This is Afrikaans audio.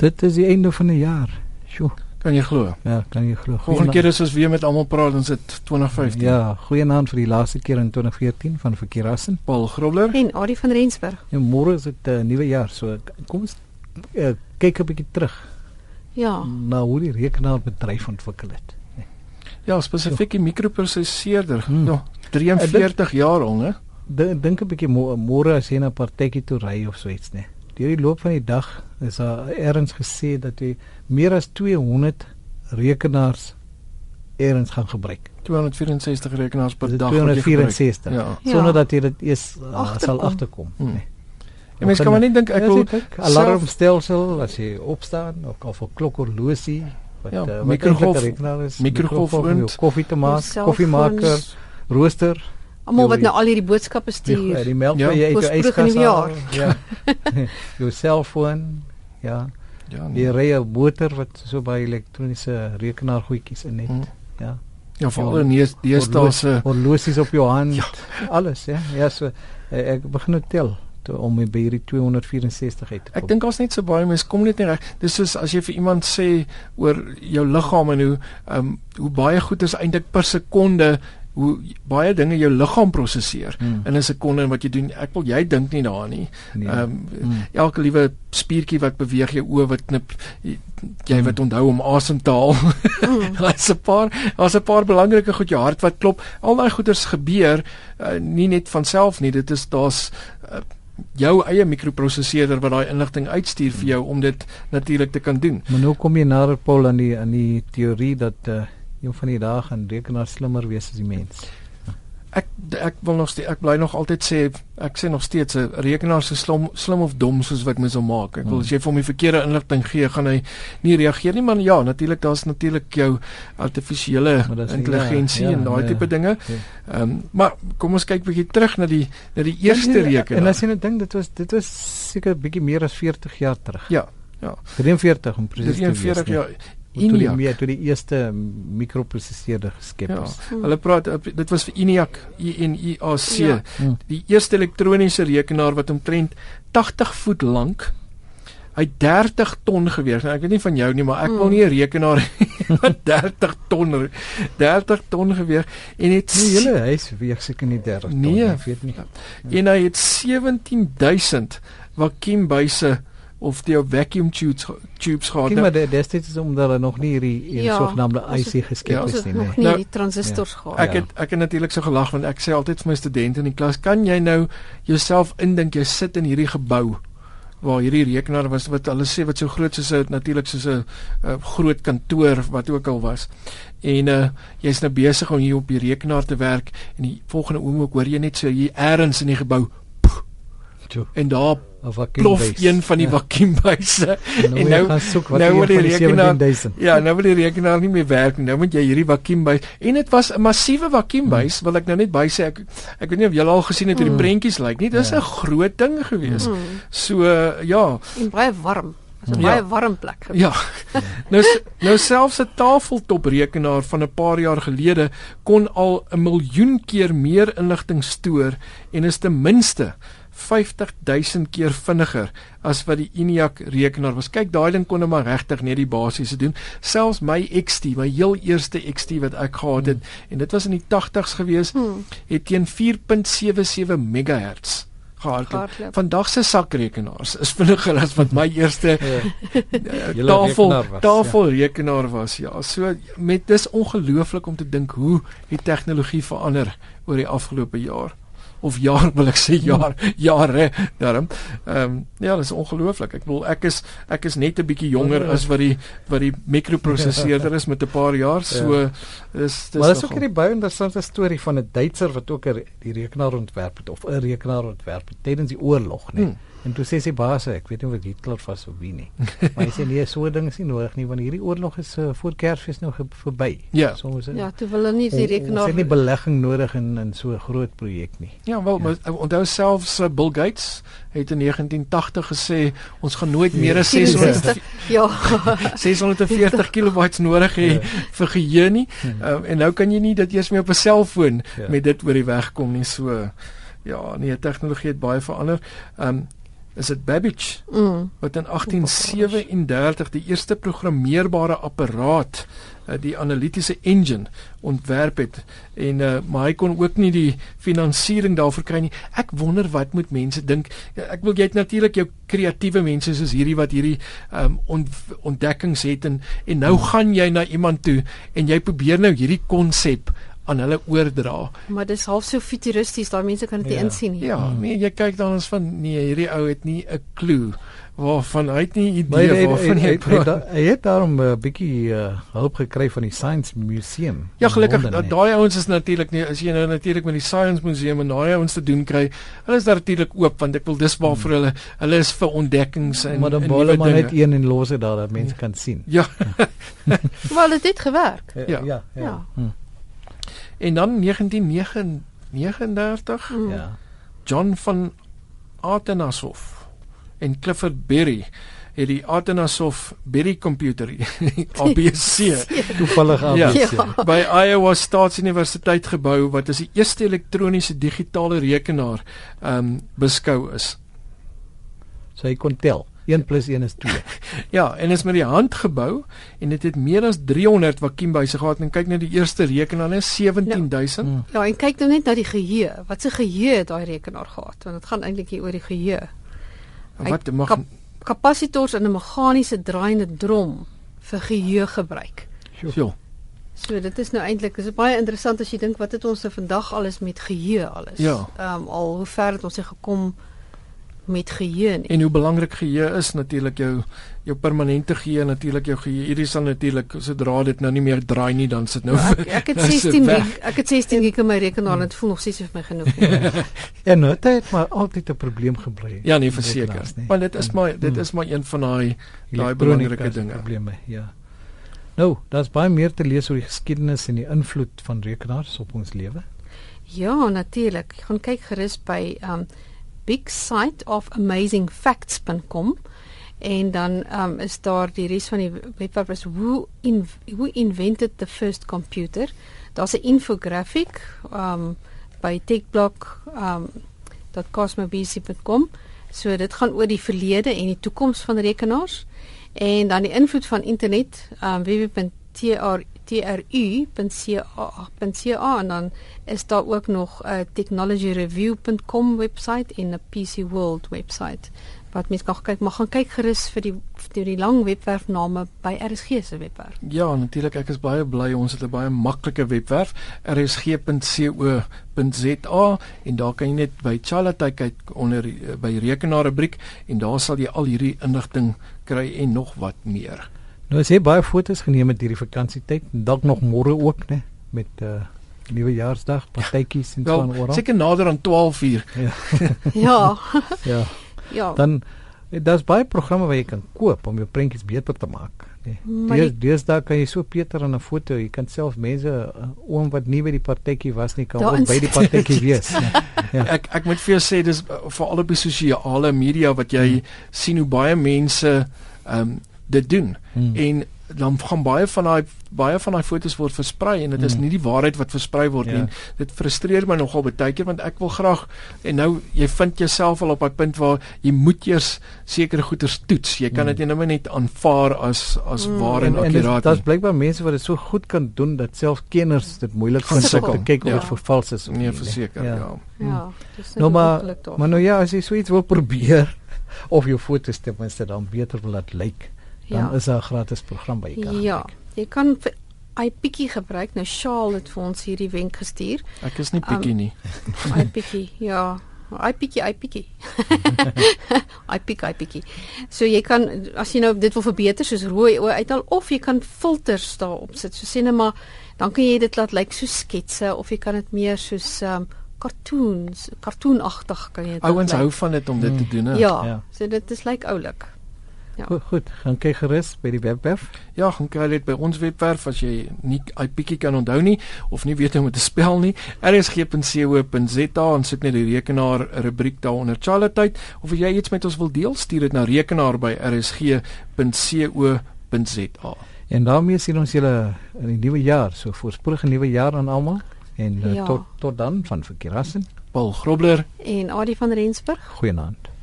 Dit is die einde van die jaar. Sjoe, Kan jy glo? ja, kan jy glo. Volgende keer is ons weer met almal praat en sit 2015. Ja, goeienaand vir die laaste keer in 2014 van Verkeerassen. Paul Grobler. En Adie van Rensburg. En môre is dit 'n uh, nuwe jaar, so k- kom ons uh, kyk 'n bietjie terug Ja, na hoe die rekenaarbedryf ontwikkel het. Ja, spesifiek die mikroprosesseerder. Hmm. Ja, 43 jaar al, né? Dink dink 'n bietjie mo- môre as jy na 'n partytjie toe ry of so iets, né? Deur die loop van die dag is daar erns gesê dat jy meer as 200 rekenaars erns gaan gebruik. 264 rekenaars per Dis dag word jy gebruik. 264. Ja. Ja. Sonder Dus dat jy dit eers uh, sal Agterkom. agterkom, Hmm. né? En mense kan maar net dink ek Ja, wil sien, kyk, self- alarmstelsel as jy opstaan of of 'n klokhorlosie wat Ja, eh, wat mikrogolf- eintlik 'n rekenaar is, mikrogolfoond, om jou koffie te maak, selfoon, koffiemaker, rooster, almal wat Joey. nou al hierdie boodskappe die, eh, stuur. die melk Ja. wat jy uit jou Voorspoedig in die yskas haal, jaar. ja. jou selfoon, ja, Ja. die Oh, Nee. rye motor wat so baie elektroniese rekenaar goedjies in het, Hmm. ja. Ja, veral in die deesdae se horlosies op jou hand, ja. alles, ja. Ja, so eh, ek begin nou tel toe om by hierdie 264 uit te kom. Ek dink ons net so baie mense kom net nie reg. Dis soos as jy vir iemand sê oor jou liggaam en hoe ehm hoe baie goed is eintlik per sekonde hoe baie dinge jou liggaam prosesseer Hmm. in 'n sekonde en wat jy doen. Ek wil jy dink nie daaraan nie. Nee. Ehm um, Hmm. elke liewe spiertjie wat beweeg, jou oë wat knip, jy- jy wat onthou om asem te haal. Mm. Daar's 'n paar, daar's 'n paar belangrike goed, jou hart wat klop. Al daai goeders gebeur uh, nie net van self nie. Dit is daar's uh, jou eie mikroprosesseerder wat daai inligting uitstuur vir jou om dit natuurlik te kan doen. Maar nou kom jy nader Paul aan die aan die teorie dat uh een van die dae gaan rekenaar slimmer wees as die mens. Ja. Ek ek wil nog steeds, ek bly nog altyd sê ek sê nog steeds eh, 'n rekenaar so slim slim of dom soos wat mens hom maak. Ek wil Hmm. as jy vir hom die verkeerde inligting gee, gaan hy nie reageer nie, maar ja, natuurlik daar's natuurlik jou artifisiële Maar dis nie- intelligensie ja, ja, en daai ja. tipe dinge. Ja. Ehm maar kom ons kyk bietjie terug na die na die eerste rekenaar. nee, En as jy net dink dit was dit was seker bietjie meer as 40 jaar terug. Ja, ja. 43 om presies te wees. 43 nee. jaar Toe die ENIAC. meer toe die eerste mikroprosesseerder geskep Ja. is. Hulle praat dit was vir ENIAC, E N I A C, Ja. Hmm. die eerste elektroniese rekenaar wat omtrent 80 voet lank hy 30 ton geweeg. Nou ek weet nie van jou nie, maar ek wil Hmm. nie 'n rekenaar hê wat 30 ton 30 ton geweeg en het Nee, julle huis weeg seker nie 30 ton, Nee. ek weet nie. en hy het 17000 vakuumbuise of die vacuum tubes tubes gehad. Kyk Nou, maar de- destyds is omdat hulle nog nie hierdie hierdie Ja, sogenaamde ons het- IC geskep Ja, Ons is het nie. nog Nee. nie Nou- die transistors gehad. Ja. Ek het ek het natuurlik so gelag want ek sê altyd vir my studente in die klas, kan jy nou jouself indink jy sit in hierdie gebou waar hierdie rekenaar was wat hulle sê wat so groot soos 'n natuurlik soos 'n uh, groot kantoor wat ook al was. En uh jy's nou besig om hier op die rekenaar te werk en die volgende oomblik hoor jy net so hier eers in die gebou Tjoe, en daar Of wat plof een van die Ja. vakuumbuise. nou, en moet jy nou- gaan soek wat nou nou word die die rekenaar- rekenaar 17000. Ja, nou wil die rekenaar nie meer werk nie. Nou moet jy hierdie vakuumbuis en dit was 'n massiewe vakuumbuis wil ek nou net by sê ek ek weet nie of julle al gesien het hoe die Mm. prentjies lyk nie. Dis Ja. 'n groot ding gewees. Mm. So uh, ja, En baie warm. Was 'n Ja. baie warm plek. ja. Nou s- nou selfs 'n tafeltoprekenaar van 'n paar jaar gelede kon al 'n miljoen keer meer inligting stoor en is ten minste 50000 keer vinniger as wat die ENIAC rekenaar was. Kyk, daai ding kon nou maar regtig net die basiese doen. Selfs my XT, my heel eerste XT wat ek gehad het en dit was in die 80's gewees, Hmm. het teen 4.77 megahertz gehardloop. Hardloop. Vandag se sakrekenaars is vinniger as wat my eerste Ja. Julle Ja. Eh, tafel rekenaar was, ja. ja. tafelrekenaar was ja. So met dis ongelooflik om te dink hoe die tegnologie verander oor die afgelope jaar of jaar wil ek sê jaar jare daarom. Ehm ja, dis ongelooflik. Ek bedoel ek is ek is net 'n bietjie jonger as wat die wat die mikroprosesseerder is met 'n paar jaar. So dis dis Ja. Maar dis ook nogal- hierdie baie interessante storie van 'n Duitser wat ook 'n re- die rekenaar ontwerp het of 'n rekenaar ontwerp het tydens die oorlog, né? Hmm. Hmm. En toe sê sy baas, ek weet nie of dit Hitler was of wie nie. maar hy sê nee, so 'n ding is nie nodig nie want hierdie oorlog is uh, voor Kersfees nou ge- verby. Ja. So ons Ja, toe wil hulle nie die rekenaar Ons het nie belegging nodig in in so 'n groot projek nie. Ja, wel, maar onthou selfs eh, Bill Gates het in 1980 gesê ons gaan nooit meer as 600 Ja. 640 kilobytes nodig hê vir geheue nie. Hmm. Um, en nou kan jy nie dit eers meer op 'n selfoon Ja. met dit oor die weg kom nie. So ja, nee, tegnologie het baie verander. Um is dit Babbage Mm. wat in 1837 die eerste programmeerbare apparaat, eh, die analitiese engine ontwerp het en uh, maar hy kon ook nie die finansiering daarvoor kry nie. Ek wonder wat moet mense dink. Ja, Ek wil jy het natuurlik jou kreatiewe mense soos hierdie wat hierdie um, ont, ontdekkings het en en nou gaan jy na iemand toe en jy probeer nou hierdie konsep aan hulle oordra. Maar dis half so futuristies, daai mense kan dit nie Ja. insien nie. Ja, nee, jy kyk dan ons van nee, hierdie ou het nie 'n klou waarvan hy het nie Maar hy idee waarvan hy het praat. nee, hy het daarom 'n bietjie eh, hulp gekry van die Science Museum. nee. Ja, in gelukkig Londen, hè. da- daai ouens is natuurlik nie as jy nou natuurlik met die Science Museum en daai ouens te doen kry, hulle is natuurlik oop want ek wil dis waar vir hulle. Hulle is vir ontdekkings en maar dan en bou hulle nuwe maar net dinge. een en los dit daar dat mense kan sien. Ja, Wel, dit het gewerk. Ja. ja. Ja. en dan 1939 Mm. Ja. John van Atenashoff en Clifford Berry het die Atenashoff Berry komputer die ABC Toevallig Ja. ABC. by Iowa Staatsuniversiteit gebou wat as die eerste elektroniese digitale rekenaar ehm um, beskou is. So hy kon tel. 1 + 1 is 2. Ja, en is met die hand gebou en dit het meer as 300 vakuumbuise gehad en kyk net die eerste rekenaar is 17000. Hmm. Ja, en kyk nou net na die geheue. Wat se geheue het daai rekenaar gehad? Want dit gaan eintlik hier oor die geheue. Ja, wat mag mm. kap- Kapasitors in 'n meganiese draaiende drom vir geheue gebruik. Jo. So dit is nou eintlik is baie interessant as jy dink wat het ons nou vandag alles met geheue alles. Ja. Ehm um, al hoe ver het ons nie gekom met geheue nie. En hoe belangrik geheue is natuurlik jou jou permanente geheue natuurlik jou geheue. Hierdie sal natuurlik sodra dit nou nie meer draai nie dan sit nou Ja, ek, ek het nou is dit 16 weg. week, ek het 16 week in my rekenaar en dit voel nog steeds nie vir my genoeg nie. En nou dit het maar altyd 'n probleem gebly. Ja nee verseker. Rekenaars, nee. Want dit is maar dit Hmm. is maar een van daai Daai Elektronika belangrike is die dinge. Probleme, ja. Nou, daar's baie meer te lees oor die geskiedenis en die invloed van rekenaars op ons lewe. Ja, natuurlik. Gaan kyk gerus by um Big Site of Amazing Facts.com en dan um is daar die res van die webwerf is who in who invented the first computer. Daar's 'n infografiek um by techblog um .cosmobc.com. So dit gaan oor die verlede en die toekoms van rekenaars en dan die invloed van internet um www.tru.ca.ca en dan is daar ook nog uh, 'n technologyreview.com webwerf en 'n PC World webwerf wat mense kan kyk, maar gaan kyk gerus vir die vir die lang webwerfname by RSG se webwerf. ja natuurlik ek is baie bly ons het 'n baie maklike webwerf rsg.co.za en daar kan jy net by Charlatay kyk onder die- eh, by rekenaar rubriek en daar sal jy al hierdie inligting kry en nog wat meer. Nou is hier baie fotos geneem met hierdie vakansietyd, en dalk nog môre ook, né, met uh nuwejaarsdag, partytjies en so aan Wel oral. seker nader aan 12uur. ja, Ja. ja. Dan eh, daar's baie programme wat jy kan koop om jou prentjies beter te maak, né. Maar Dees die- deesdae kan jy so Peter aan 'n foto, jy kan self mense eh, oom wat nie by die partytjie was nie, kan Daar ook by die partytjie wees. né. Ja. Ek ek moet vir jou sê dis uh, veral op die sosiale media wat jy sien hoe baie mense ehm um, dit doen. Hmm. en dan gaan baie van daai baie van daai fotos word versprei en dit is Mm. nie die waarheid wat versprei word nie. Ja. En Dit frustreer my nogal baie keer want ek wil graag en nou jy vind jouself al op 'n punt waar jy moet eers sekere goeders toets. Jy kan Mm. dit nie nou net net aanvaar as as Mm. waar en dis- akkuraat daar's nie. blykbaar mense wat dit so goed kan doen dat selfs kenners dit moeilik vind om Sukkel, te kyk of ja. dit vervals is of Nee, né. verseker, Ja. ja. ja. ja, dis Nou nou maar maklik daar. Maar nou ja, as jy so iets wil probeer of jou foto's ten minste dan beter wil laat lyk, dan Ja. is daar 'n gratis program by jou kan. Ja, jy kan vir iPikie gebruik. Nou Shaal het vir ons hierdie wenk gestuur. Ek is nie Um, bietjie nie. iPikie, ja. iPikie, iPikie. iPik, iPikie. So jy kan as jy nou dit wil verbeter soos rooi oë uithaal of jy kan filters daarop sit. So sê net maar dan kan jy dit laat lyk so sketse of jy kan dit meer soos ehm um, cartoons, kartoonagtig kan jy dit. Ouens laat lyk. hou van dit om dit te doen. hè. Ja, Ja. ja. So dit is lyk like oulik. Ja. Goed, goed, gaan kyk gerus by die webwerf. Ja, gaan kry dit by ons webwerf as jy nie iPietjie kan onthou nie of nie weet hoe om dit te spel nie. rsg.co.za en soek net die rekenaar rubriek daaronder Charlatyd of as jy iets met ons wil deel, stuur dit na rekenaar by rsg.co.za. En daarmee sien ons julle in die nuwe jaar, so voorspoedige nuwe jaar aan almal en ja. Ja. tot tot dan van Verkerassen. Paul Grobler En Adi van Rensburg Goeienaand.